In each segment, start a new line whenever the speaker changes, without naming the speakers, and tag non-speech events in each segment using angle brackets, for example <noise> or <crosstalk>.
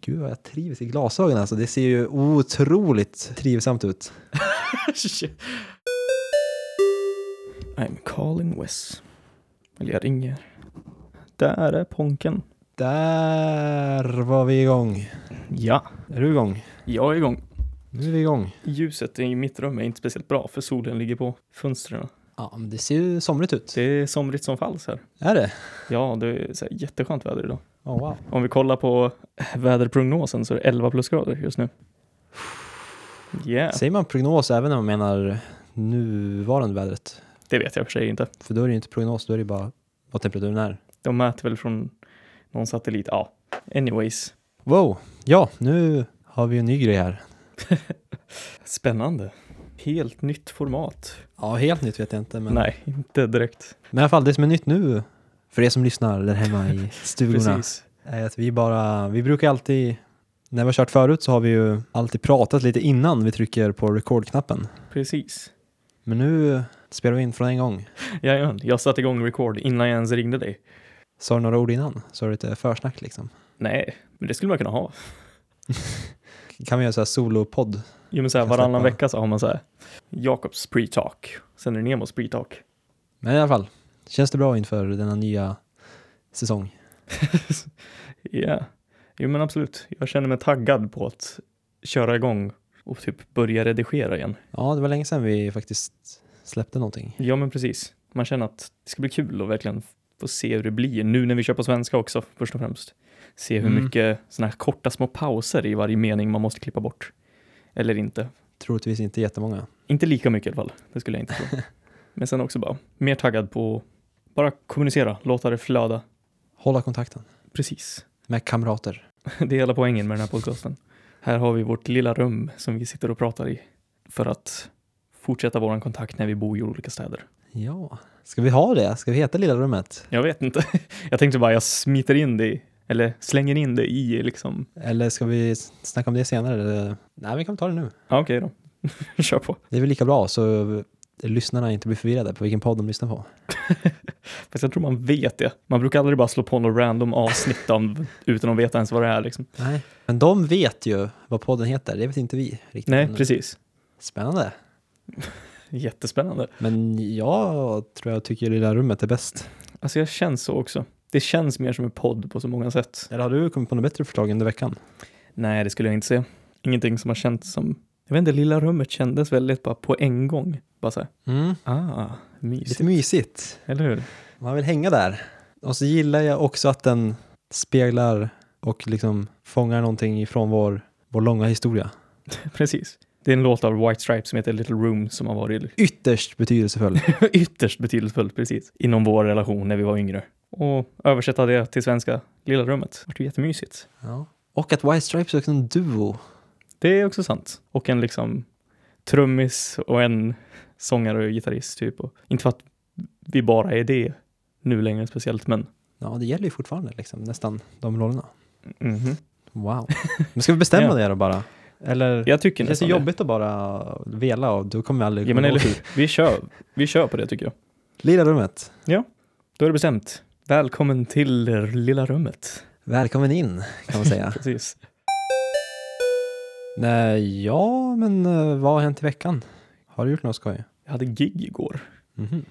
Gud vad jag trivs i glasögonen alltså. Det ser ju otroligt trivsamt ut.
<laughs> I'm calling Wes. Eller jag ringer. Där är Ponken.
Där var vi igång.
Ja,
Är du igång?
jag är igång.
Nu är vi igång.
Ljuset i mitt rum är inte speciellt bra för solen ligger på fönstren.
Ja, men det ser ju somrigt ut.
Det är somrigt som falls här.
Är det?
Ja, det är så här jätteskönt väder idag.
Oh, wow.
Om vi kollar på väderprognosen så är det 11 plusgrader just nu. Yeah,
<laughs> Säger man prognos även när man menar nuvarande vädret?
det vet jag för sig inte.
För då är det ju inte prognos, då är det ju bara vad temperaturen är.
De mäter väl från någon satellit. Ja, anyways.
Wow, ja, nu har vi en ny grej här.
Spännande. Helt nytt format.
Ja, helt nytt vet jag inte, men,
Nej, inte direkt.
men i alla fall det som är nytt nu för er som lyssnar där hemma i stugorna
Precis.
är att Eh, vi bara, vi brukar alltid, när vi har kört förut så har vi ju alltid pratat lite innan vi trycker på record-knappen.
Precis.
Men nu spelar vi in från en gång.
Jajamän, jag satte igång record innan jag ens ringde dig.
Sa du några ord innan? Så är det lite försnack liksom.
Nej, men det skulle man kunna ha.
Kan vi göra så här solopodd?
Jo men så här,
Kan släppa.
varannan vecka så har man så här Jakobs pre-talk, sen är det Nemos pre-talk.
Men i alla fall, känns det bra inför denna nya säsong?
Ja, jo men absolut. Jag känner mig taggad på att köra igång och typ börja redigera igen.
Ja, det var länge sedan vi faktiskt släppte någonting.
Ja men precis, man känner att det ska bli kul och verkligen få se hur det blir nu när vi kör på svenska också först och främst. Se hur
Mm.
mycket sådana här korta små pauser i varje mening man måste klippa bort. Eller inte.
Troligtvis inte jättemånga.
Inte lika mycket i alla fall, det skulle jag inte <laughs> tro. Men sen också bara mer taggad på att bara kommunicera, låta det flöda.
Hålla kontakten
Precis.
med kamrater.
<laughs> Det är hela poängen med den här podcasten. Här har vi vårt lilla rum som vi sitter och pratar i för att fortsätta vår kontakt när vi bor i olika städer.
Ja, ska vi ha det? Ska vi heta Lilla Rummet?
Jag vet inte. <laughs> Jag tänkte bara jag smiter in det i, eller slänger in det i liksom.
Eller ska vi s- snacka om det senare? Eller- Nej, vi kan ta det nu.
Ja, okej då. <laughs> Kör på.
Det är väl lika bra så lyssnarna inte blir förvirrade på vilken podd de lyssnar på.
Fast jag tror man vet det. Man brukar aldrig bara slå på något random avsnitt om, utan att veta ens vad det är liksom.
Nej. Men de vet ju vad podden heter, det vet inte vi riktigt.
Nej,
ännu.
precis.
Spännande.
Jättespännande.
Men jag tror jag tycker Lilla Rummet är bäst.
Alltså jag känns så också. Det känns mer som en podd på så många sätt.
Eller har du kommit på något bättre förslag under veckan?
Nej, det skulle jag inte säga. Ingenting som har känts som... Jag vet inte, lilla rummet kändes väldigt bara på en gång. Bara så här,
Mm.
ah, mysigt.
Lite mysigt.
Eller hur? <laughs>
Man vill hänga där. Och så gillar jag också att den speglar och liksom fångar någonting ifrån vår, vår långa historia.
Precis. Det är en låt av White Stripes som heter Little Room som har varit <laughs>
Ytterst betydelsefull.
ytterst betydelsefull, precis, inom vår relation när vi var yngre. Och översätta det till svenska, lilla rummet. Det vart ju jättemysigt.
<laughs> ja. Och att White Stripes är också en duo.
Det är också sant. Och en liksom trummis och en sångare och gitarrist typ. Och inte för att vi bara är det nu längre speciellt, men
Ja, det gäller ju fortfarande liksom, nästan de rollerna.
mhm.
Wow. <laughs> Men ska vi bestämma
Ja.
det då bara? Eller?
jag
det
tycker
är så
nästan det.
jobbigt typ. att bara vela och då kommer vi aldrig
Ja, men
komma
eller
ihåg. <laughs>
hur? Vi kör. Vi kör på det tycker jag.
Lilla rummet.
Då är det bestämt. Välkommen till det lilla rummet.
Välkommen in, kan man
<laughs>
säga.
Precis.
Nej, ja, men eh, vad har hänt i veckan? Har du gjort något skoj?
Jag hade gig igår
Mhm.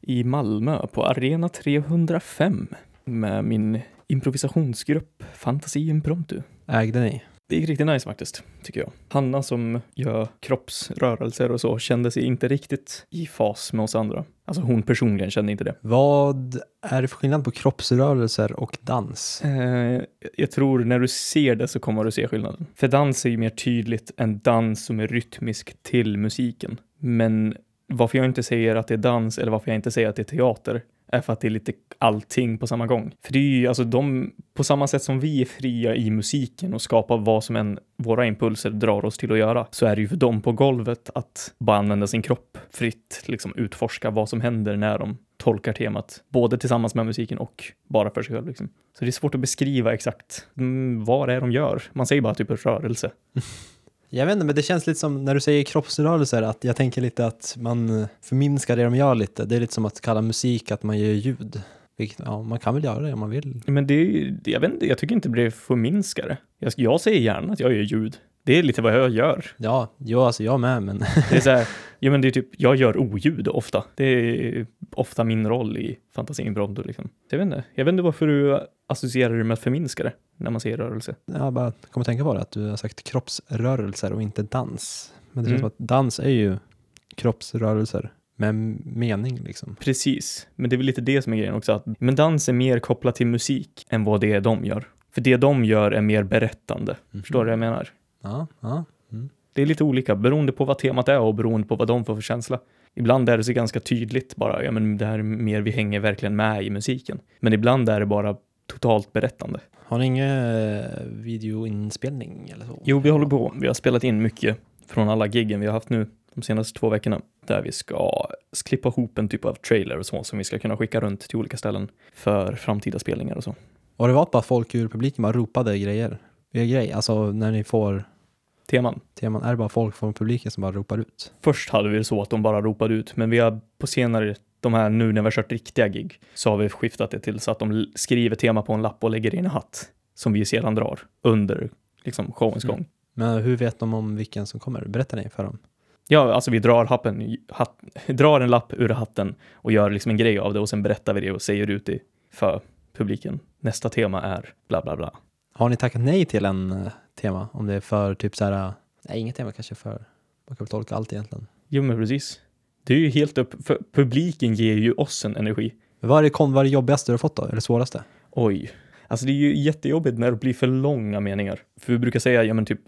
i Malmö på Arena 305 med min improvisationsgrupp Fantasi Impromptu.
Ägde ni?
Det gick riktigt nice faktiskt, tycker jag. Hanna som gör kroppsrörelser och så kände sig inte riktigt i fas med oss andra. Alltså hon personligen kände inte det.
Vad är det för skillnad på kroppsrörelser och dans?
Eh, jag tror när du ser det så kommer du se skillnaden. För dans är ju mer tydligt en dans som är rytmisk till musiken. Men varför jag inte säger att det är dans eller varför jag inte säger att det är teater är för att det är lite allting på samma gång. För det är ju alltså de, på samma sätt som vi är fria i musiken och skapar vad som än våra impulser drar oss till att göra, så är det ju för dem på golvet att bara använda sin kropp fritt, liksom utforska vad som händer när de tolkar temat, både tillsammans med musiken och bara för sig själv. Liksom. Så det är svårt att beskriva exakt mm, vad det är de gör. Man säger bara typ en rörelse.
Jag vet inte, men det känns lite som när du säger kroppsrörelser att eh, jag tänker lite att man förminskar det de gör lite. Det är lite som att kalla musik att man gör ljud. Vilket, ja, man kan väl göra det om man vill.
Men det, är ju- jag vet inte, jag tycker inte det förminskar det. Jag, jag säger gärna att jag gör ljud. Det är lite vad jag gör.
Ja, jo, alltså jag med, men
Det är så här, <laughs> ja men det är typ, jag gör oljud ofta. Det är ofta min roll i Fantasin Brondo liksom. Jag vet inte, jag vet inte varför du associerar det med att förminska det när man säger rörelse.
jag bara kommer tänka på det, att du har sagt kroppsrörelser och inte dans. Men det känns
Mm.
som att dans är ju kroppsrörelser med mening liksom.
Precis, men det är väl lite det som är grejen också, att men dans är mer kopplat till musik än vad det är de gör. För det de gör är mer berättande. Förstår du vad jag menar?
Ja, ja. Mm.
Det är lite olika beroende på vad temat är och beroende på vad de får för känsla. Ibland är det så ganska tydligt bara, ja men det här är mer vi hänger verkligen med i musiken. Men ibland är det bara totalt berättande.
Har ni ingen eh, videoinspelning eller så?
Jo, vi håller på. Vi har spelat in mycket från alla giggen vi har haft nu de senaste två veckorna där vi ska klippa ihop en typ av trailer och så som vi ska kunna skicka runt till olika ställen för framtida spelningar och så.
Har det varit bara folk ur publiken bara ropade grejer? Er grej, alltså när ni får
Teman.
teman, är det bara folk från publiken som bara ropar ut?
Först hade vi det så att de bara ropade ut, men vi har på senare, de här nu när vi har kört riktiga gig, så har vi skiftat det till så att de l- skriver tema på en lapp och lägger i en hatt som vi sedan drar under liksom showens
Mm.
gång.
Men hur vet de om vilken som kommer? Berättar ni för dem?
Ja, alltså vi drar, happen, i- hat, <laughs> drar en lapp ur hatten och gör liksom en grej av det och sen berättar vi det och säger ut det för publiken. Nästa tema är bla bla bla.
Har ni tackat nej till en eh, tema? Om det är för typ så här, eh, nej inget tema kanske är för, man kan väl tolka allt egentligen.
Jo, men precis. Det är ju helt upp, för publiken ger ju oss en energi.
Men Vad är, det, kon- vad är det jobbigaste du har fått då? Eller svåraste?
Oj. Alltså det är ju jättejobbigt när det blir för långa meningar. För vi brukar säga, ja men typ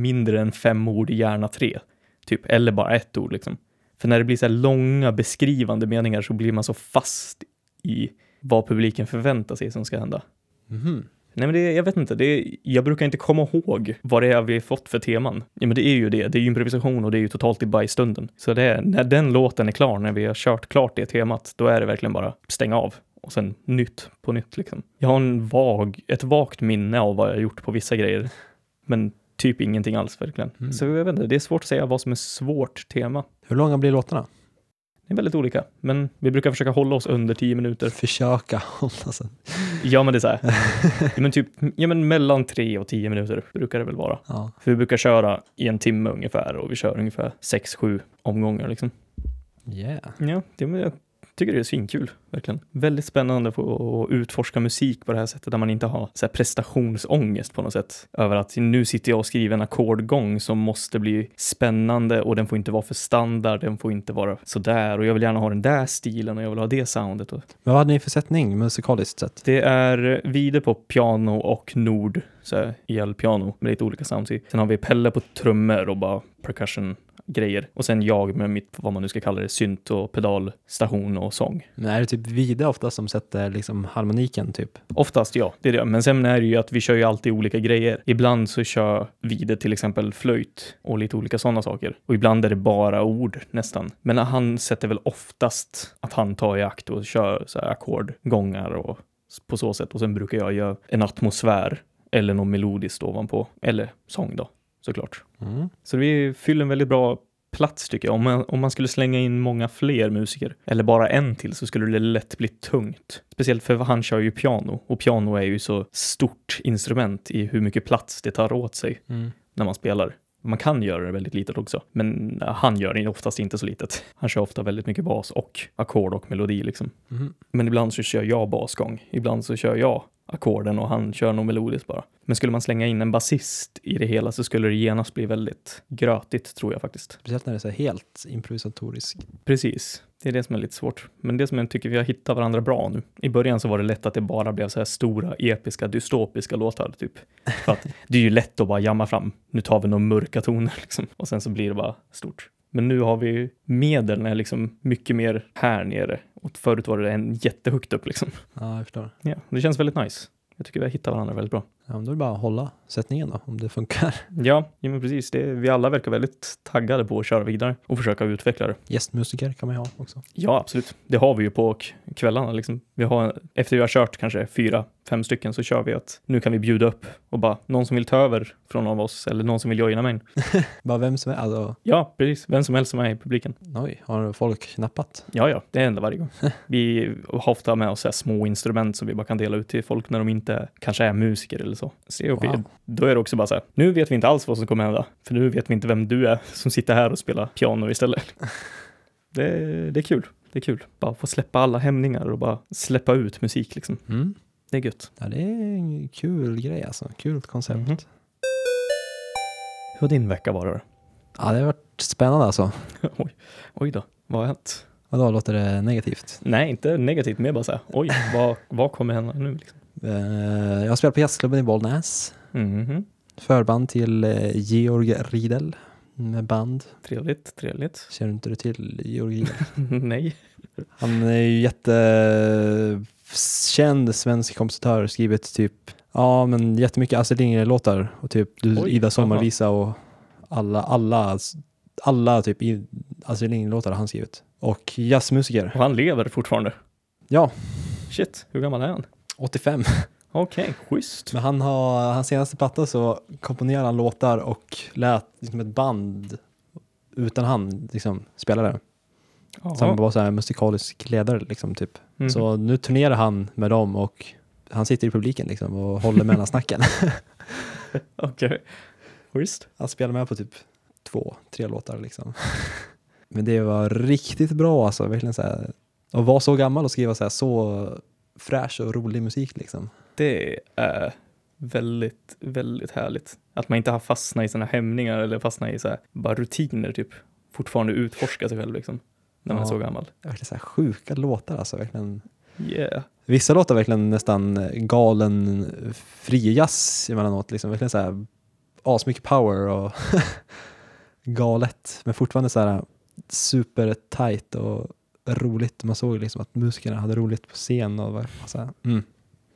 mindre än fem ord, gärna tre. Typ, eller bara ett ord liksom. För när det blir så här långa beskrivande meningar så blir man så fast i vad publiken förväntar sig som ska hända.
Mhm.
Nej men det, jag vet inte, det, jag brukar inte komma ihåg vad det är vi har fått för teman. Ja men det är ju det, det är ju improvisation och det är ju totalt i bajstunden. Så det är, när den låten är klar, när vi har kört klart det temat, då är det verkligen bara stänga av och sen nytt på nytt liksom. Jag har en vag, ett vagt minne av vad jag har gjort på vissa grejer, men typ ingenting alls verkligen.
Mm.
Så jag vet inte, det är svårt att säga vad som är svårt tema.
Hur långa blir låtarna?
Det är väldigt olika, men vi brukar försöka hålla oss under 10 minuter.
Försöka <laughs> hålla sig.
Ja men det är så här. Ja, men typ, ja men mellan 3 och 10 minuter brukar det väl vara.
Ja.
För vi brukar köra i en timme ungefär och vi kör ungefär 6-7 omgångar liksom.
Yeah.
Ja, det, men jag tycker det är svinkul, verkligen. Väldigt spännande att få utforska musik på det här sättet där man inte har så här prestationsångest på något sätt. Över att nu sitter jag och skriver en ackordgång som måste bli spännande och den får inte vara för standard, den får inte vara sådär och jag vill gärna ha den där stilen och jag vill ha det soundet. Och
Men vad hade ni för sättning musikaliskt sett?
det är Vide på piano och Nord, så här elpiano med lite olika sounds i. Sen har vi Pelle på trummor och bara percussion grejer. Och sen jag med mitt, vad man nu ska kalla det, synt och pedalstation och sång.
Men är det typ Vide ofta som sätter liksom harmoniken typ?
Oftast ja, det är det. Men sen är det ju att vi kör ju alltid olika grejer. Ibland så kör Vide till exempel flöjt och lite olika sådana saker. Och ibland är det bara ord nästan. Men han sätter väl oftast att han tar i akt och kör så här ackordgångar och s- på så sätt. Och sen brukar jag göra en atmosfär eller något melodiskt ovanpå. Eller sång då, såklart.
Mm.
Så vi fyller en väldigt bra plats tycker jag. Om man, om man skulle slänga in många fler musiker, eller bara en till, så skulle det lätt bli tungt. Speciellt för han kör ju piano, och piano är ju så stort instrument i hur mycket plats det tar åt sig
Mm.
när man spelar. Man kan göra det väldigt litet också, men han gör det oftast inte så litet. Han kör ofta väldigt mycket bas och ackord och melodi liksom.
Mhm.
Men ibland så kör jag basgång, ibland så kör jag ackorden och han kör nog melodiskt bara. Men skulle man slänga in en basist i det hela så skulle det genast bli väldigt grötigt tror jag faktiskt.
Speciellt när det är så här helt improvisatoriskt.
Precis, det är det som är lite svårt. Men det som jag tycker vi har hittat varandra bra nu. I början så var det lätt att det bara blev så här stora, episka, dystopiska låtar typ. För att det är ju lätt att bara jamma fram. Nu tar vi några mörka toner <laughs> liksom. Och sen så blir det bara stort. Men nu har vi ju medel är liksom mycket mer här nere. Och förut var det en jättehögt upp liksom.
Ja, jag förstår.
Ja, det känns väldigt nice. Jag tycker vi har hittat varandra väldigt bra.
Ja, men då är det bara att hålla sättningen då, om det funkar. <laughs>
Ja, ja men precis. Det, vi alla verkar väldigt taggade på att köra vidare och försöka utveckla det.
Gästmusiker kan man ju ha också.
Ja, absolut. Det har vi ju på k- kvällarna. Liksom. Vi har, efter vi har kört kanske fyra, fem stycken så kör vi att nu kan vi bjuda upp och bara någon som vill ta över från någon av oss eller någon som vill joina mig.
Bara vem som är, alltså,
Ja, precis. Vem som helst som är i publiken.
oj, har folk nappat?
Ja, ja, det händer varje gång. Vi har ofta med oss så här små instrument som vi bara kan dela ut till folk när de inte kanske är musiker eller så. så det är okej.
Wow.
Då är det också bara så här, nu vet vi inte alls vad som kommer hända, för nu vet vi inte vem du är som sitter här och spelar piano <laughs> istället. Det, det är kul. Det är kul. Bara få släppa alla hämningar och bara släppa ut musik liksom.
Mm.
Det är gött.
Ja, det är en kul grej alltså, kul koncept.
Mhm. Hur har din vecka varit
Ja, det har varit spännande alltså.
då? Oj, oj då, vad har hänt?
Vadå, låter det negativt?
Nej, inte negativt, mer bara så här, oj, vad, vad kommer hända nu liksom?
Eh, Jag spelar på jazzklubben i Bollnäs.
Mhm.
Förband till eh, Georg Riedel med band.
Trevligt, trevligt. <laughs>
Känner inte du till Georg Riedel?
Nej.
Han är ju jättekänd svensk kompositör, skrivit typ, ja men jättemycket Astrid Lindgren-låtar och typ du-
Oj,
Ida Sommarvisa och alla, alla, alla typ i- Astrid Lindgren-låtar har han skrivit. Och jazzmusiker,
Och han lever fortfarande.
ja,
Shit, hur gammal är han?
85.
Okej, schysst.
Men han har, hans senaste platta så komponerade han låtar och lät liksom ett band utan han liksom spelade.
Jaha.
Så han var så här musikalisk ledare liksom typ.
Mhm.
Så nu turnerar han med dem och han sitter i publiken liksom och håller mellansnacken.
<laughs> Okej. Schysst.
han spelar med på typ två, tre låtar liksom. Men det var riktigt bra alltså, verkligen så här. Att vara så gammal och skriva så här så fräsch och rolig musik liksom.
Det är väldigt, väldigt härligt. Att man inte har fastnat i sina hämningar eller fastnat i så här, bara rutiner typ. Fortfarande utforska sig själv liksom. När man
Ja.
är så gammal.
Verkligen så här sjuka låtar alltså, verkligen.
Yeah.
Vissa låtar verkligen nästan galen frijazz emellanåt, liksom. verkligen så här asmycket power och <laughs> galet, men fortfarande så här super tight och roligt. Man såg liksom att musikerna hade roligt på scen och var var så här, mm,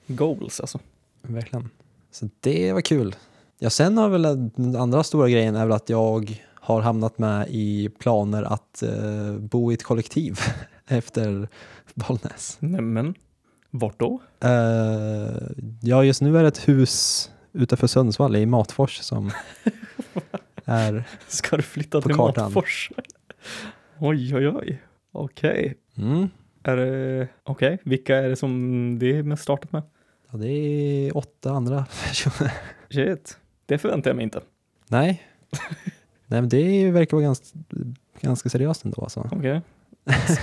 Goals alltså.
verkligen. Så det var kul. Ja, sen har väl den andra stora grejen är väl att jag har hamnat med i planer att eh, bo i ett kollektiv <laughs> efter Bollnäs.
Nämen. Vart då? <laughs>
Eh, ja, just nu är det ett hus utanför Sundsvall i Matfors <laughs> som är...
Ska du flytta
På
till
kartan.
Matfors? <laughs> oj, oj, oj. Okej.
Mm,
Är det, okej, vilka är det som det är mest startat med?
ja, det är åtta andra personer. <laughs>
Shit. Det förväntar jag mig inte.
Nej. Nej, men det verkar vara ganska, ganska seriöst ändå. Alltså. <laughs>
Okej,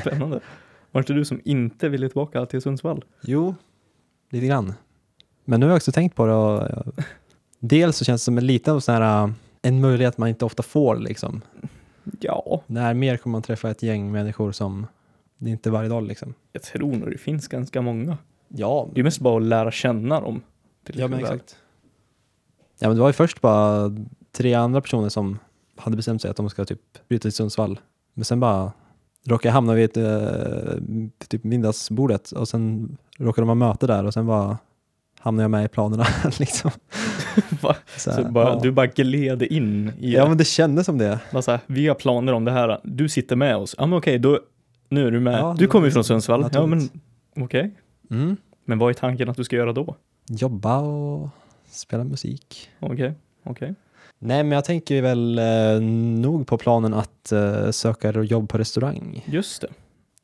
spännande. Var det inte du som inte ville tillbaka till Sundsvall?
Jo, lite grann. Men nu har jag också tänkt på det. Och, eh, dels så känns det som en liten sån här, eh, en möjlighet man inte ofta får. Liksom.
Ja,
När mer kommer man träffa ett gäng människor som det är inte varje dag. Liksom.
jag tror nog det finns ganska många.
Ja,
Det är mest bara att lära känna dem. till
Ja men
exempel.
exakt. Ja men det var ju först bara tre andra personer som hade bestämt sig att de ska typ bryta till Sundsvall. Men sen bara råkade jag hamna vid ett, eh, typ middagsbordet och sen råkade de ha möte där och sen bara hamnade jag med i planerna <laughs> liksom.
<laughs> Va?
Så,
Så bara,
ja.
Du bara gled in i
ja men det kändes som det.
bara så här, vi har planer om det här, du sitter med oss. Ja men okej, då, nu är du med.
Ja,
du kommer ju
det-
från Sundsvall. Ja men
naturligt.
okej,
Mm.
men vad är tanken att du ska göra då?
Jobba och spela musik.
Okej, okej.
Nej men jag tänker väl eh, nog på planen att eh, söka jobb på restaurang.
Just det.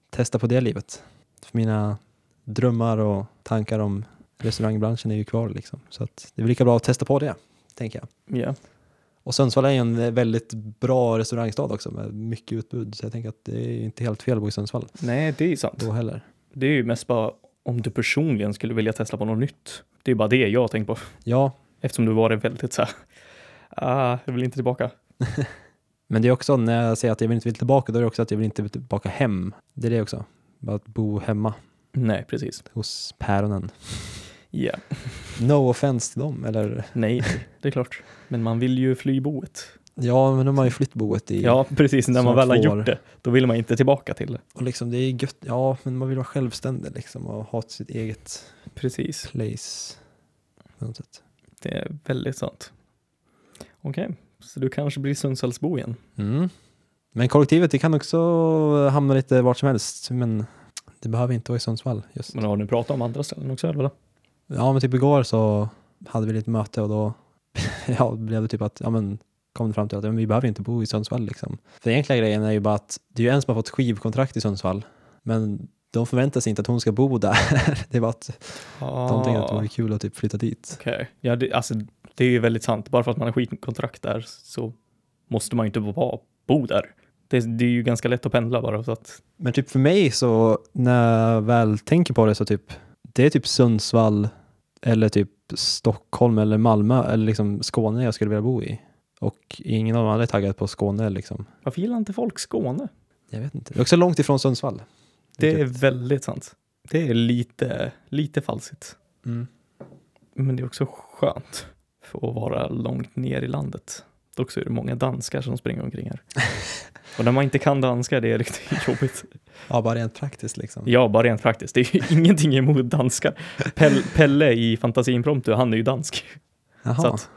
testa på det livet. För mina drömmar och tankar om restaurangbranschen är ju kvar liksom. Så att det är väl lika bra att testa på det, tänker jag.
Ja,
Och Sundsvall är ju en väldigt bra restaurangstad också med mycket utbud. Så jag tänker att det är ju inte helt fel att bo i Sundsvall
nej det är sant.
då heller.
Det är ju mest bara om du personligen skulle vilja testa på något nytt. Det är bara det jag har tänkt på.
Ja,
Eftersom du var det väldigt så här, ah, jag vill inte tillbaka.
men det är också när jag säger att jag vill inte vill tillbaka, då är det också att jag vill inte tillbaka hem. Det är det också. Bara att bo hemma
Nej, precis.
hos päronen.
Ja,
No offense till dem, eller?
nej, det är klart. Men man vill ju fly boet.
Ja, men de har ju flytt boet i...
Ja, precis. När man
Snart
väl har
två år.
gjort det, då vill man inte tillbaka till det.
Och liksom, det är gött. Ja, men man vill vara självständig liksom och ha sitt eget
Precis.
place. På något sätt.
Det är väldigt sant. Okej, så du kanske blir Sundsvallsbo igen.
Mm. Men kollektivet, det kan också hamna lite vart som helst, men det behöver inte vara i Sundsvall just.
Men har ni pratat om andra ställen också eller?
Ja, men typ igår så hade vi lite möte och då <laughs> ja, blev det typ att, ja men kom det fram till att ja, men vi behöver inte bo i Sundsvall liksom. För egentliga grejen är ju bara att det är ju en som har fått skivkontrakt i Sundsvall, men de förväntar sig inte att hon ska bo där. <laughs> det var att de tänkte att det vore kul att typ flytta dit.
Ah, Okej, ja, det, alltså, det är ju väldigt sant. Bara för att man har skitkontrakt där så måste man ju inte bo, bo där. Det, det är ju ganska lätt att pendla bara. Så att,
Men typ för mig så, när jag väl tänker på det så typ, det är typ Sundsvall eller typ Stockholm eller Malmö eller liksom Skåne jag skulle vilja bo i. Och ingen av de andra är taggad på Skåne liksom.
varför gillar inte folk Skåne?
Jag vet inte. Det är också långt ifrån Sundsvall.
Det är
Vilket-
väldigt sant. Det är lite, lite falsigt.
Mm.
Men det är också skönt för att vara långt ner i landet. Dock så är det många danskar som springer
<laughs>
omkring här. Och när man inte kan danska, det är riktigt <laughs> jobbigt.
Ja, bara rent praktiskt liksom.
Ja, bara rent praktiskt. Det är ju <laughs> ingenting emot danskar. Pelle, Pelle i Fantasi Impromptu, han är ju dansk. Så
Jaha.
att,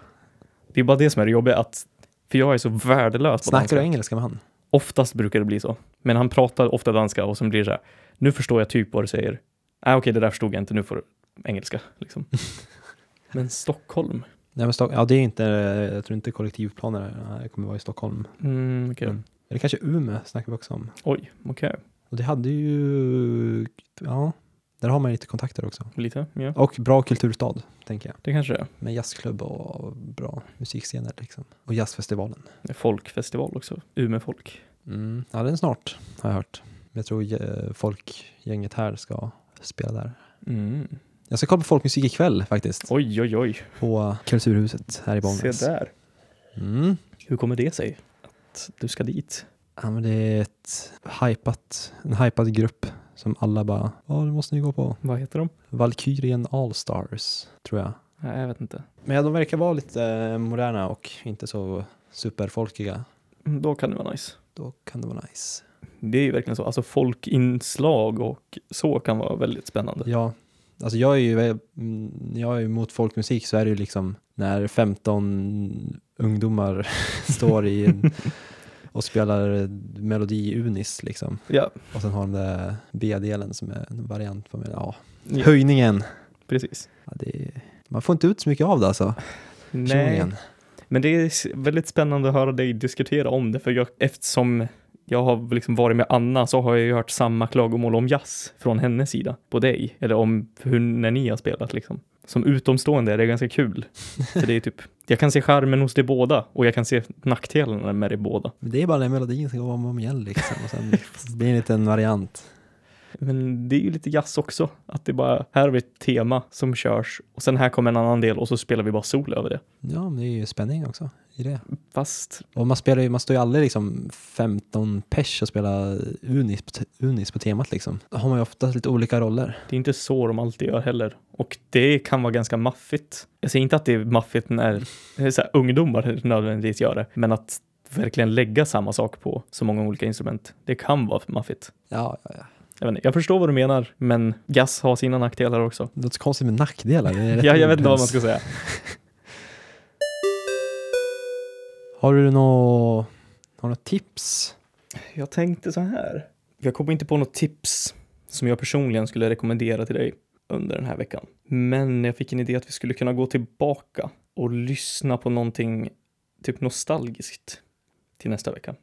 det är bara det som är det jobbiga, att, för jag är så värdelös på
Snackar
danska.
du engelska med han?
Oftast brukar det bli så. Men han pratar ofta danska och som blir det så här, nu förstår jag typ vad du säger. Nej, okej, det där förstod jag inte, nu får du engelska.
<laughs>
Liksom. Men Stockholm?
Nej, men Stock- ja, det är inte, jag tror inte kollektivplaner eh, kommer vara i Stockholm.
Mm, okej.
Mm. Eller kanske Umeå snackar vi också om.
Oj, okej.
Och det hade ju, ja, där har man ju lite kontakter också.
Lite, ja.
Och bra kulturstad, tänker jag.
Det kanske det
Med jazzklubb och bra musikscener liksom. Och jazzfestivalen.
är. Folkfestival också. Umeåfolk.
Mm. Ja, den är snart, har jag hört. Men Jag tror eh, folkgänget här ska spela där.
Mm.
Jag ska kolla på folkmusik ikväll faktiskt.
Oj, oj, oj.
På Kulturhuset här i Bollnäs.
Se där.
Mm.
Hur kommer det sig att du ska dit?
Ja, men det är ett hypat, en hypad grupp som alla bara, ja det måste ni gå på.
Vad heter de?
Valkyrien Allstars, tror jag.
Nej, jag vet inte.
Men de verkar vara lite eh, moderna och inte så superfolkiga.
Mm, Då kan det vara nice.
Då kan det vara nice.
Det är ju verkligen så. Alltså folkinslag och så kan vara väldigt spännande.
Ja, alltså jag är ju, mm, jag är ju mot folkmusik så är det ju liksom när 15 ungdomar <laughs> står i en, och spelar melodi unis liksom.
Ja,
Och sen har de där B-delen som är en variant på, ja,
ja
höjningen.
precis.
Ja, det är, man får inte ut så mycket av det alltså.
Nej,
personligen.
men det är s- väldigt spännande att höra dig diskutera om det, för jag, eftersom jag har liksom varit med Anna så har jag ju hört samma klagomål om jazz från hennes sida på dig, eller om hur, när ni har spelat liksom. Som utomstående är det ganska kul, för det är typ, <laughs> jag kan se charmen hos de båda och jag kan se nackdelarna med de båda.
Men det är bara den melodin som går om och om igen liksom. Och sen blir det en liten variant.
Men det är ju lite jazz också, att det bara, här har vi ett tema som körs och sen här kommer en annan del och så spelar vi bara sol över det.
Ja, men det är ju spänning också i det.
Fast
Och man, spelar ju, man står ju aldrig liksom 15 pers och spelar unis, på te- unis på temat liksom. Då har man ju oftast lite olika roller.
Det är inte så de alltid gör heller. Och det kan vara ganska maffigt. Jag säger inte att det är maffigt när eh, så här, ungdomar nödvändigtvis gör det, men att verkligen lägga samma sak på så många olika instrument, det kan vara maffigt.
Ja, ja, ja.
Jag, vet inte, jag förstår vad du menar, men jazz har sina nackdelar också.
Det låter konstigt med nackdelar. Det är rätt
<laughs> Ja, jag vet inte vad man
intenst.
ska säga.
Har du något har du något tips?
Jag tänkte så här. Jag kommer inte på något tips som jag personligen skulle rekommendera till dig under den här veckan. Men jag fick en idé att vi skulle kunna gå tillbaka och lyssna på någonting typ nostalgiskt till nästa vecka.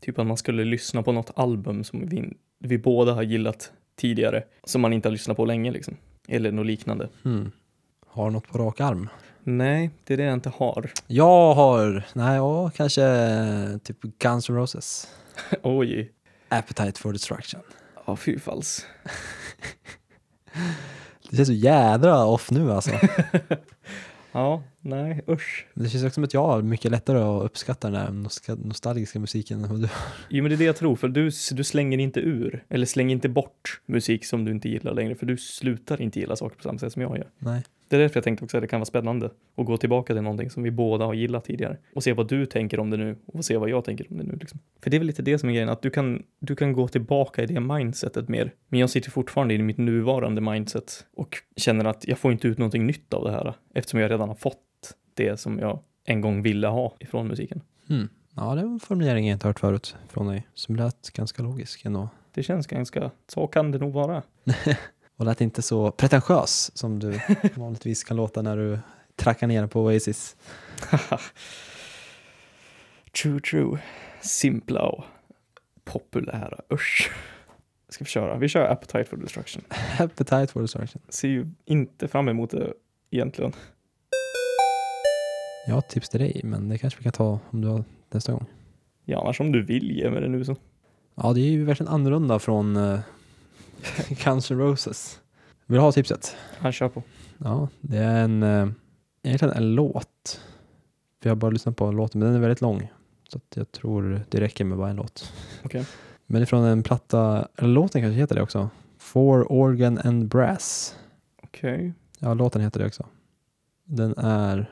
Typ att man skulle lyssna på något album som vi, vi båda har gillat tidigare som man inte har lyssnat på länge liksom. Eller något liknande.
Hmm. Har du något på rak arm?
Nej, det är det jag inte har. <laughs>
Jag har, nej, ja, kanske typ Guns N' Roses.
Oj.
Appetite for destruction.
Ja, fy fals. <laughs>
Det känns så jädra off nu alltså.
<laughs> Ja, nej, usch.
Men Det känns också som att jag har mycket lättare att uppskatta den här nostal- nostalgiska musiken än vad du
Jo men det är det jag tror, för du, du slänger inte ur, eller slänger inte bort musik som du inte gillar längre, för du slutar inte gilla saker på samma sätt som jag gör.
Nej.
Det är därför jag tänkte också att det kan vara spännande att gå tillbaka till någonting som vi båda har gillat tidigare och se vad du tänker om det nu och se vad jag tänker om det nu. Liksom. För det är väl lite det som är grejen, att du kan, du kan gå tillbaka i det mindsetet mer, men jag sitter fortfarande i mitt nuvarande mindset och känner att jag får inte ut någonting nytt av det här eftersom jag redan har fått det som jag en gång ville ha ifrån musiken.
Hmm. Ja, det var en formulering jag inte hört förut från dig som lät ganska logisk ändå.
Det känns ganska, så kan det nog vara.
Och lät inte så pretentiös som du vanligtvis kan låta när du trackar ner på Oasis.
<laughs> true, true. Simpla och populära, usch. Ska vi köra? Vi kör Appetite for Destruction.
Appetite for destruction.
Ser ju inte fram emot det egentligen.
Jag har ett tips till dig, men det kanske vi kan ta om du har nästa gång.
Ja, annars om du vill ge mig det nu så.
Ja, det är ju verkligen annorlunda från uh, <laughs> Guns N' Roses. Vill du ha tipset?
Han kör på.
Ja, det är en, eh, egentligen en låt. Vi har bara lyssnat på låten, men den är väldigt lång. Så att jag tror det räcker med bara en låt.
Okej.
Men det är från en platta, eller låten kanske heter det också. For Organ and Brass.
Okej.
Ja, låten heter det också. Den är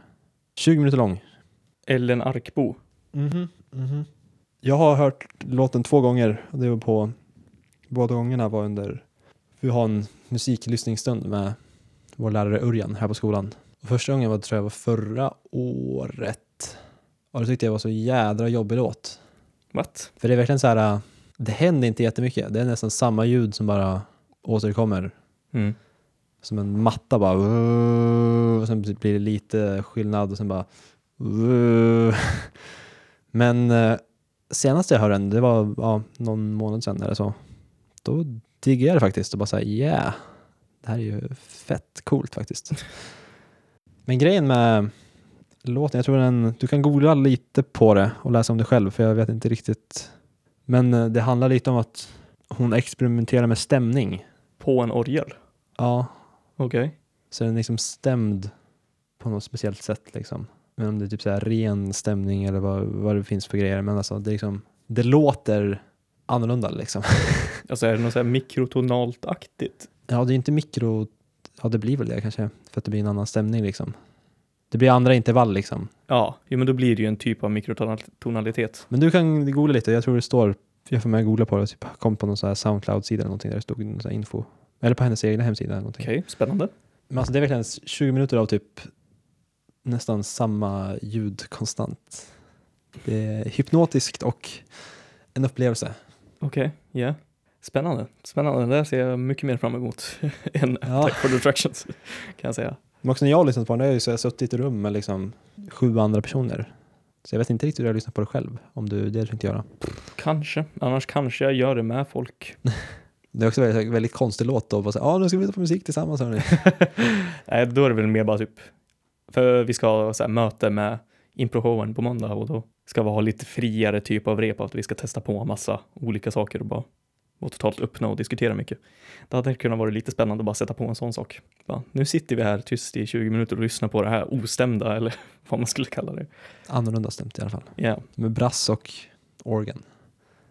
20 minuter lång.
Ellen Arkbo.
Jag har hört låten två gånger och det var på båda gångerna var under vi har en musiklyssningsstund med vår lärare Örjan här på skolan. Och första gången var tror jag var förra året. Och då tyckte jag det var så jädra jobbig låt.
What?
För det är verkligen så här, äh, det händer inte jättemycket. Det är nästan samma ljud som bara återkommer.
Mm.
Som en matta bara. "Åh", Och sen blir det lite skillnad och sen bara. "Åh". Men eh, senast jag hörde den, det var ja, någon månad sedan eller så. Då diggade jag det faktiskt och bara såhär yeah. Det här är ju fett coolt faktiskt. Men grejen med låten, jag tror den, du kan googla lite på det och läsa om det själv för jag vet inte riktigt. Men eh, det handlar lite om att hon experimenterar med stämning.
På en orgel?
Ja,
Okej.
så är den liksom stämd på något speciellt sätt liksom. Men om det är typ så här ren stämning eller vad, vad det finns för grejer. Men alltså det, är liksom, det låter annorlunda liksom. <laughs>
Alltså är det något så här mikrotonalt-aktigt?
Ja, det är inte mikro... Ja, det blir väl det kanske. För att det blir en annan stämning liksom. Det blir andra intervall liksom.
Ja, jo, men då blir det ju en typ av mikrotonalitet.
Men du kan googla lite. Jag tror det står... Jag får mig googla på det. Typ, kom på någon så här Soundcloud-sida eller någonting där det stod någon så här info. Eller på hennes egna hemsida eller någonting.
Okej, spännande.
Men alltså det är verkligen 20 minuter av typ nästan samma ljud konstant. Det är hypnotiskt och en upplevelse.
Okej, ja. Spännande. Spännande. Det där ser jag mycket mer fram emot <laughs> än
Ja.
Attack for Destructions, kan jag säga.
Men också när jag har lyssnat på den, då har jag ju så här suttit i ett rum med liksom sju andra personer. Så jag vet inte riktigt hur jag lyssnar på det själv, om du det tänkte göra.
Kanske. Annars kanske jag gör det med folk.
Det är också väldigt, väldigt konstig låt då, bara så här, ja nu ska vi ta på musik tillsammans hörni.
Nej, då är det väl mer bara typ, för vi ska ha så här, möte med improhoven på måndag och då ska vi ha lite friare typ av rep, att vi ska testa på massa olika saker och bara vara totalt öppna och diskutera mycket. Det hade kunnat vara lite spännande att bara sätta på en sån sak. Bara, nu sitter vi här tyst i 20 minuter och lyssnar på det här ostämda, eller <laughs> vad man skulle kalla det.
Annorlunda stämt i alla fall.
Ja,
Med brass och organ.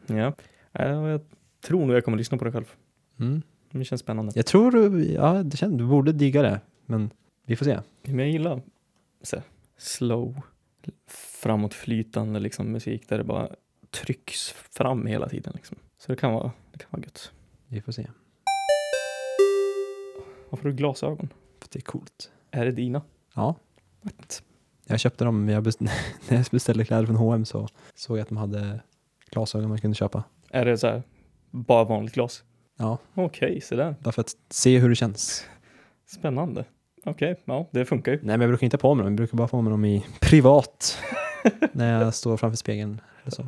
ja. Nej, Jag tror nog jag kommer lyssna på det själv.
Mm.
Det känns spännande.
Jag tror du, ja det känns, du borde digga det, men vi får se.
Men jag gillar så här, slow, framåtflytande liksom, musik där det bara trycks fram hela tiden. Liksom. Så det kan, vara, det kan vara gött.
Vi får se.
Varför har du glasögon?
För det är coolt.
Är det dina?
Ja.
What?
Jag köpte dem, jag best- <laughs> när jag beställde kläder från H&M så såg jag att de hade glasögon man kunde köpa.
Är det så här, bara vanligt glas?
Ja,
Okej, så där.
bara för att se hur det känns.
Spännande. Okej, ja, det funkar ju.
Nej men jag brukar inte ha på mig dem, jag brukar bara få med dem i
<laughs>
privat. när jag står framför spegeln. Eller så.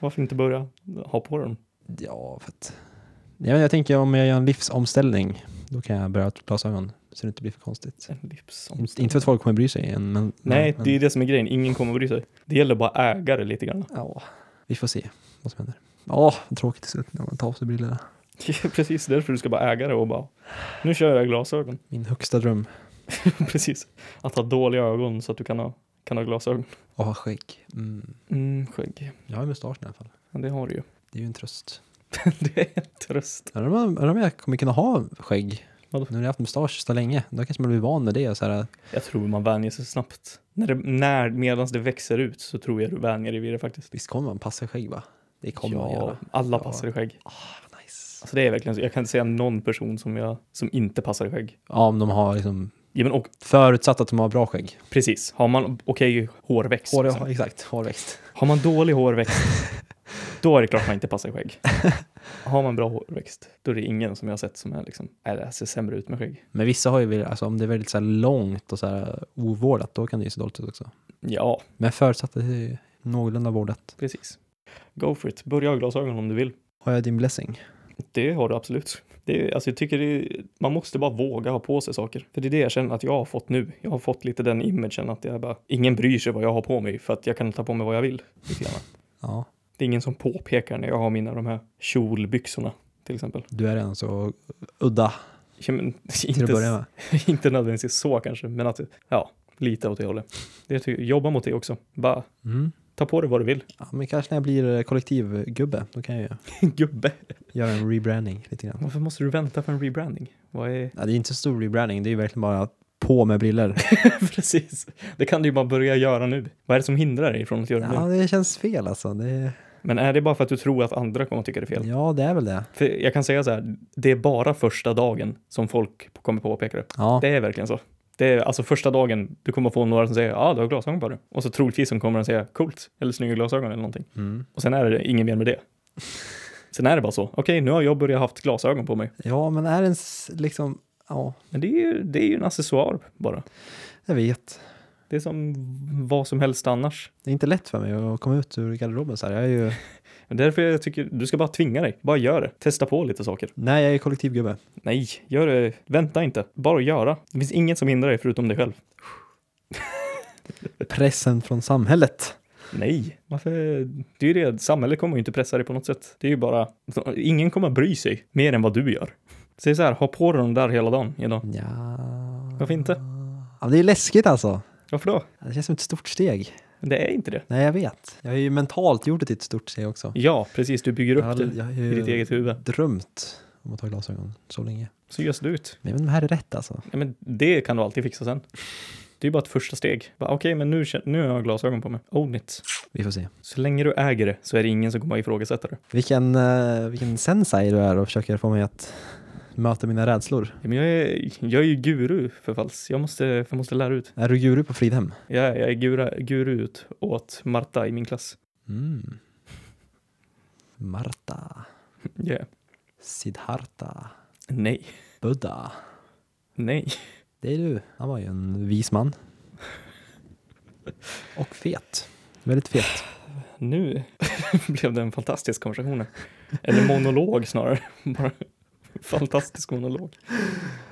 Varför inte börja ha på dem?
Ja, för att... Ja, men jag tänker om jag gör en livsomställning, då kan jag börja ha glasögon så det inte blir för konstigt.
En lips om-
Inte- Inte för att folk kommer bry sig än, men...
Nej,
men,
det är det som är grejen. Ingen kommer bry sig. Det gäller bara att äga det lite grann.
Ja, vi får se vad som händer. Ja, vad tråkigt det ser ut när man tar av sig brillorna.
Det är <laughs> Precis därför du ska bara äga det och bara, nu kör jag glasögon. <laughs>
Min högsta dröm.
Precis. Att ha dåliga ögon så att du kan ha, kan ha glasögon.
Att ha skägg. Mm.
Mm, skägg.
Jag har ju mustaschen i alla fall.
Ja, det har du <laughs> ju.
Det är ju en tröst.
det är en tröst.
Undrar om- undrar om jag kommer kunna ha skägg.
Vadå?
Nu har jag haft mustasch så länge. Då kanske man blir van med det. Och så här,
Jag tror man vänjer sig snabbt. När det, när, medan det växer ut så tror jag du vänjer dig vid det faktiskt.
visst kommer man passa skägg va? Det kommer man
ja,
göra.
alla
Ja.
passar i skägg.
Ah, nice.
Alltså det är verkligen så. Jag kan inte säga någon person som, jag, som inte passar i skägg.
Ja, om de har liksom
Ja, men och,
Förutsatt att de har bra skägg.
precis, har man okej hårväxt.
Hår,
liksom.
Exakt, hårväxt.
Har man dålig hårväxt, då är det klart man inte passar
<laughs>
skägg. Har man bra hårväxt, då är det ingen som jag har sett som är liksom, nej det här ser sämre ut med skägg.
Men vissa har ju, väl- alltså, om det är väldigt så här långt och så här ovårdat, då kan det ju se dåligt ut också.
Ja,
Men förutsatt att det är någorlunda vårdat.
precis. Go for it. Börja ha glasögon om du vill.
Har jag din blessing?
Det har du absolut. Det, är- alltså jag tycker det, är- man måste bara våga ha på sig saker. För det är det jag känner att jag har fått nu. Jag har fått lite den imagen att jag bara, ingen bryr sig vad jag har på mig för att jag kan ta på mig vad jag vill. lite grann.
Ja,
Det är ingen som påpekar när jag har mina de här kjolbyxorna till exempel.
du är redan så udda
Ja, men,
till att
inte,
börja med.
<laughs> inte nödvändigtvis så kanske, men att ja, lite åt det hållet. Det tycker, jobba mot det också. Bara
Mm.
ta på dig vad du vill. <laughs>
Ja, men kanske när jag blir eh, kollektivgubbe, då kan jag ju
Gubbe,
göra en rebranding lite grann.
varför måste du vänta för en rebranding? Vad är... <laughs>
Ja, det är inte så stor rebranding, det är ju verkligen bara på med briller.
Precis, det kan du ju bara börja göra nu. Vad är det som hindrar dig från att göra det
Ja,
nu?
det känns fel alltså. Det,
Men är det bara för att du tror att andra kommer att tycka det är fel?
ja, det är väl det.
För jag kan säga så här, det är bara första dagen som folk kommer påpeka det.
Ja,
Det är verkligen så. Det är alltså första dagen du kommer få några som säger ja, ah, du har glasögon på dig. Och så troligtvis som kommer de säga coolt eller snygga glasögon eller någonting.
mm.
Och sen är det ingen mer med det. Sen är det bara så. Okej, nu har jag börjat haft glasögon på mig.
ja men är ens liksom, ja,
Men det är ju, det är ju en accessoar bara.
jag vet.
Det är som vad som helst annars.
Det är inte lätt för mig att komma ut ur garderoben så här. Jag är ju,
Men därför jag tycker du ska bara tvinga dig. Bara gör det. Testa på lite saker.
nej, jag är kollektivgubbe.
Nej, gör det. Vänta inte. Bara göra. Det finns inget som hindrar dig förutom dig själv.
Pressen från samhället.
Nej, varför? Det är ju det, samhället kommer ju inte pressa dig på något sätt. Det är ju bara, ingen kommer bry sig mer än vad du gör. Säg så här, ha på dig dem där hela dagen idag.
Ja.
Varför inte?
ja, det är läskigt alltså.
Varför då?
Det känns som ett stort steg.
Det är inte det.
Nej, jag vet. Jag har ju mentalt gjort det till ett stort steg också.
Ja, precis, du bygger
Jag
upp
har,
det
jag har
i ditt
ju
eget huvud.
drömt om att ta glasögon så länge.
Så görs det ut.
Men jag vet inte om det här är rätt alltså.
Ja, men det kan du alltid fixa sen. Det är ju bara ett första steg. Bara, Okej, men nu, kän- nu har jag glasögon på mig. Own it.
Vi får se.
Så länge du äger det så är det ingen som kommer att ifrågasätta det.
Vilken, eh, vilken sensei du är och försöker få mig att möta mina rädslor.
Ja, men jag är, jag är ju guru för falls. Jag måste, jag måste lära ut.
Är du guru på Fridhem?
Jag, är- jag är gura, guru ut åt Marta i min klass.
Mm. Marta,
Yeah.
Siddhartha,
Nej,
Buddha.
nej.
Det är du. Han var ju en vis man. Och fet. Väldigt fet.
Nu <laughs> blev det en fantastisk konversation. här. Eller monolog snarare. <laughs> Bara fantastisk monolog.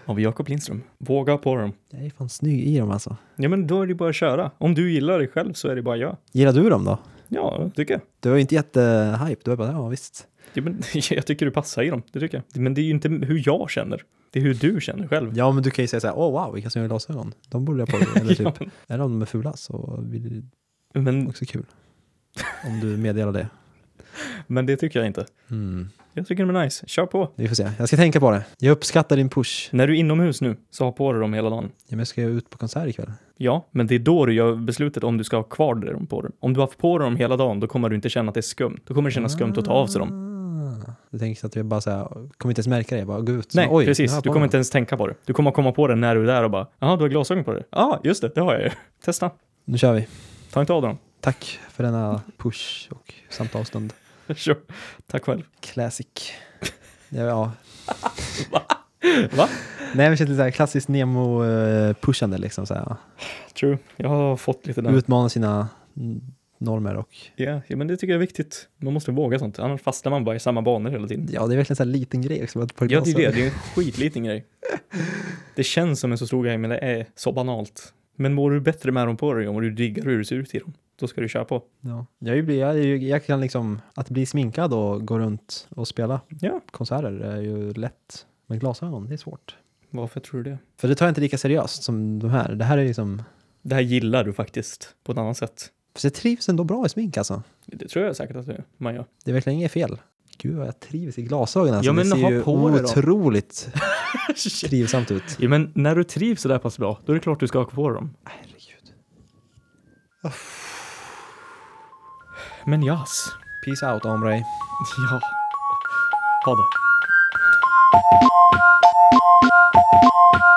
Av Jakob Lindström. Våga på dem.
Jag är fan snygg i dem alltså.
Ja, men då är det bara att köra. Om du gillar det själv så är det bara ja.
Gillar du dem då?
Ja, tycker jag.
Du var ju inte jättehype. Du var bara, ja visst.
Ja, men, <laughs> jag tycker du passar i dem, det tycker jag. Men det är ju inte hur jag känner. Det är hur du känner själv.
Ja, men du kan ju säga så här, åh wow, vilka snygga glasögon. De borde jag på mig.
<laughs>
Eller
Ja,
typ, är de de är fula så blir det
men,
också kul. Om du meddelar det.
men det tycker jag inte.
Mm.
Jag tycker de är nice. Kör på.
Vi får se. Jag ska tänka på det. Jag uppskattar din push.
När du är inomhus nu, så ha på dig dem hela dagen.
Ja, men jag ska ju ut på konsert ikväll.
Ja, men det är då du gör beslutet om du ska ha kvar dig dem på dig. Om du har haft på dig dem hela dagen, då kommer du inte känna att det är skumt. Då kommer det kännas skumt att ta av sig dem.
Ah. Du tänker så att jag bara så här, kommer inte ens märka det. Jag bara går ut.
Nej,
så, Oj, nu har
precis.
jag
Du
på
kommer
mig
inte ens tänka på det. Du kommer komma på det när du är där och bara, jaha, du har glasögon på dig. Ja, ah, just det, det har jag ju. Testa.
dem." Nu kör vi.
Ta inte av dem.
Tack för denna push och samtalsstund.
<laughs> Kör. Tack själv. <laughs>
Classic. Ja, ja.
Va?
Nej, men det känns lite så här klassiskt Nemo-pushande liksom. Så här.
True. Jag har fått lite den.
Utmana sina mm, normer och
Ja, ja, men det tycker jag är viktigt. Man måste våga sånt, annars fastnar man bara i samma banor hela tiden.
ja, det är verkligen en sån här liten grej också. att på
Ja, det är det.
glasögon.
Det är en skitliten <laughs> grej. Det känns som en så stor grej, men det är så banalt. Men mår du bättre med dem på dig, om du diggar hur det ser ut i dem, då ska du köra på.
Ja. Jag, blir, jag, är ju- jag kan liksom, att bli sminkad och gå runt och spela
Ja.
konserter är ju lätt. Men glasögon, det är svårt.
Varför tror du det?
För det tar jag inte lika seriöst som de här. Det här är liksom,
Det här gillar du faktiskt på ett annat sätt.
för jag trivs ändå bra i smink alltså.
Det tror jag säkert att det- man <laughs> gör.
Det är verkligen inget fel. Gud vad jag trivs i glasögonen. Alltså.
Ja, men
det ser
ha
ju
på dig då.
otroligt trivsamt ut. <laughs>
ja, men när du trivs så där pass bra, då är det klart du ska ha på dem.
Herregud.
Men jas.
Peace out, omrej.
Ja. Ha det.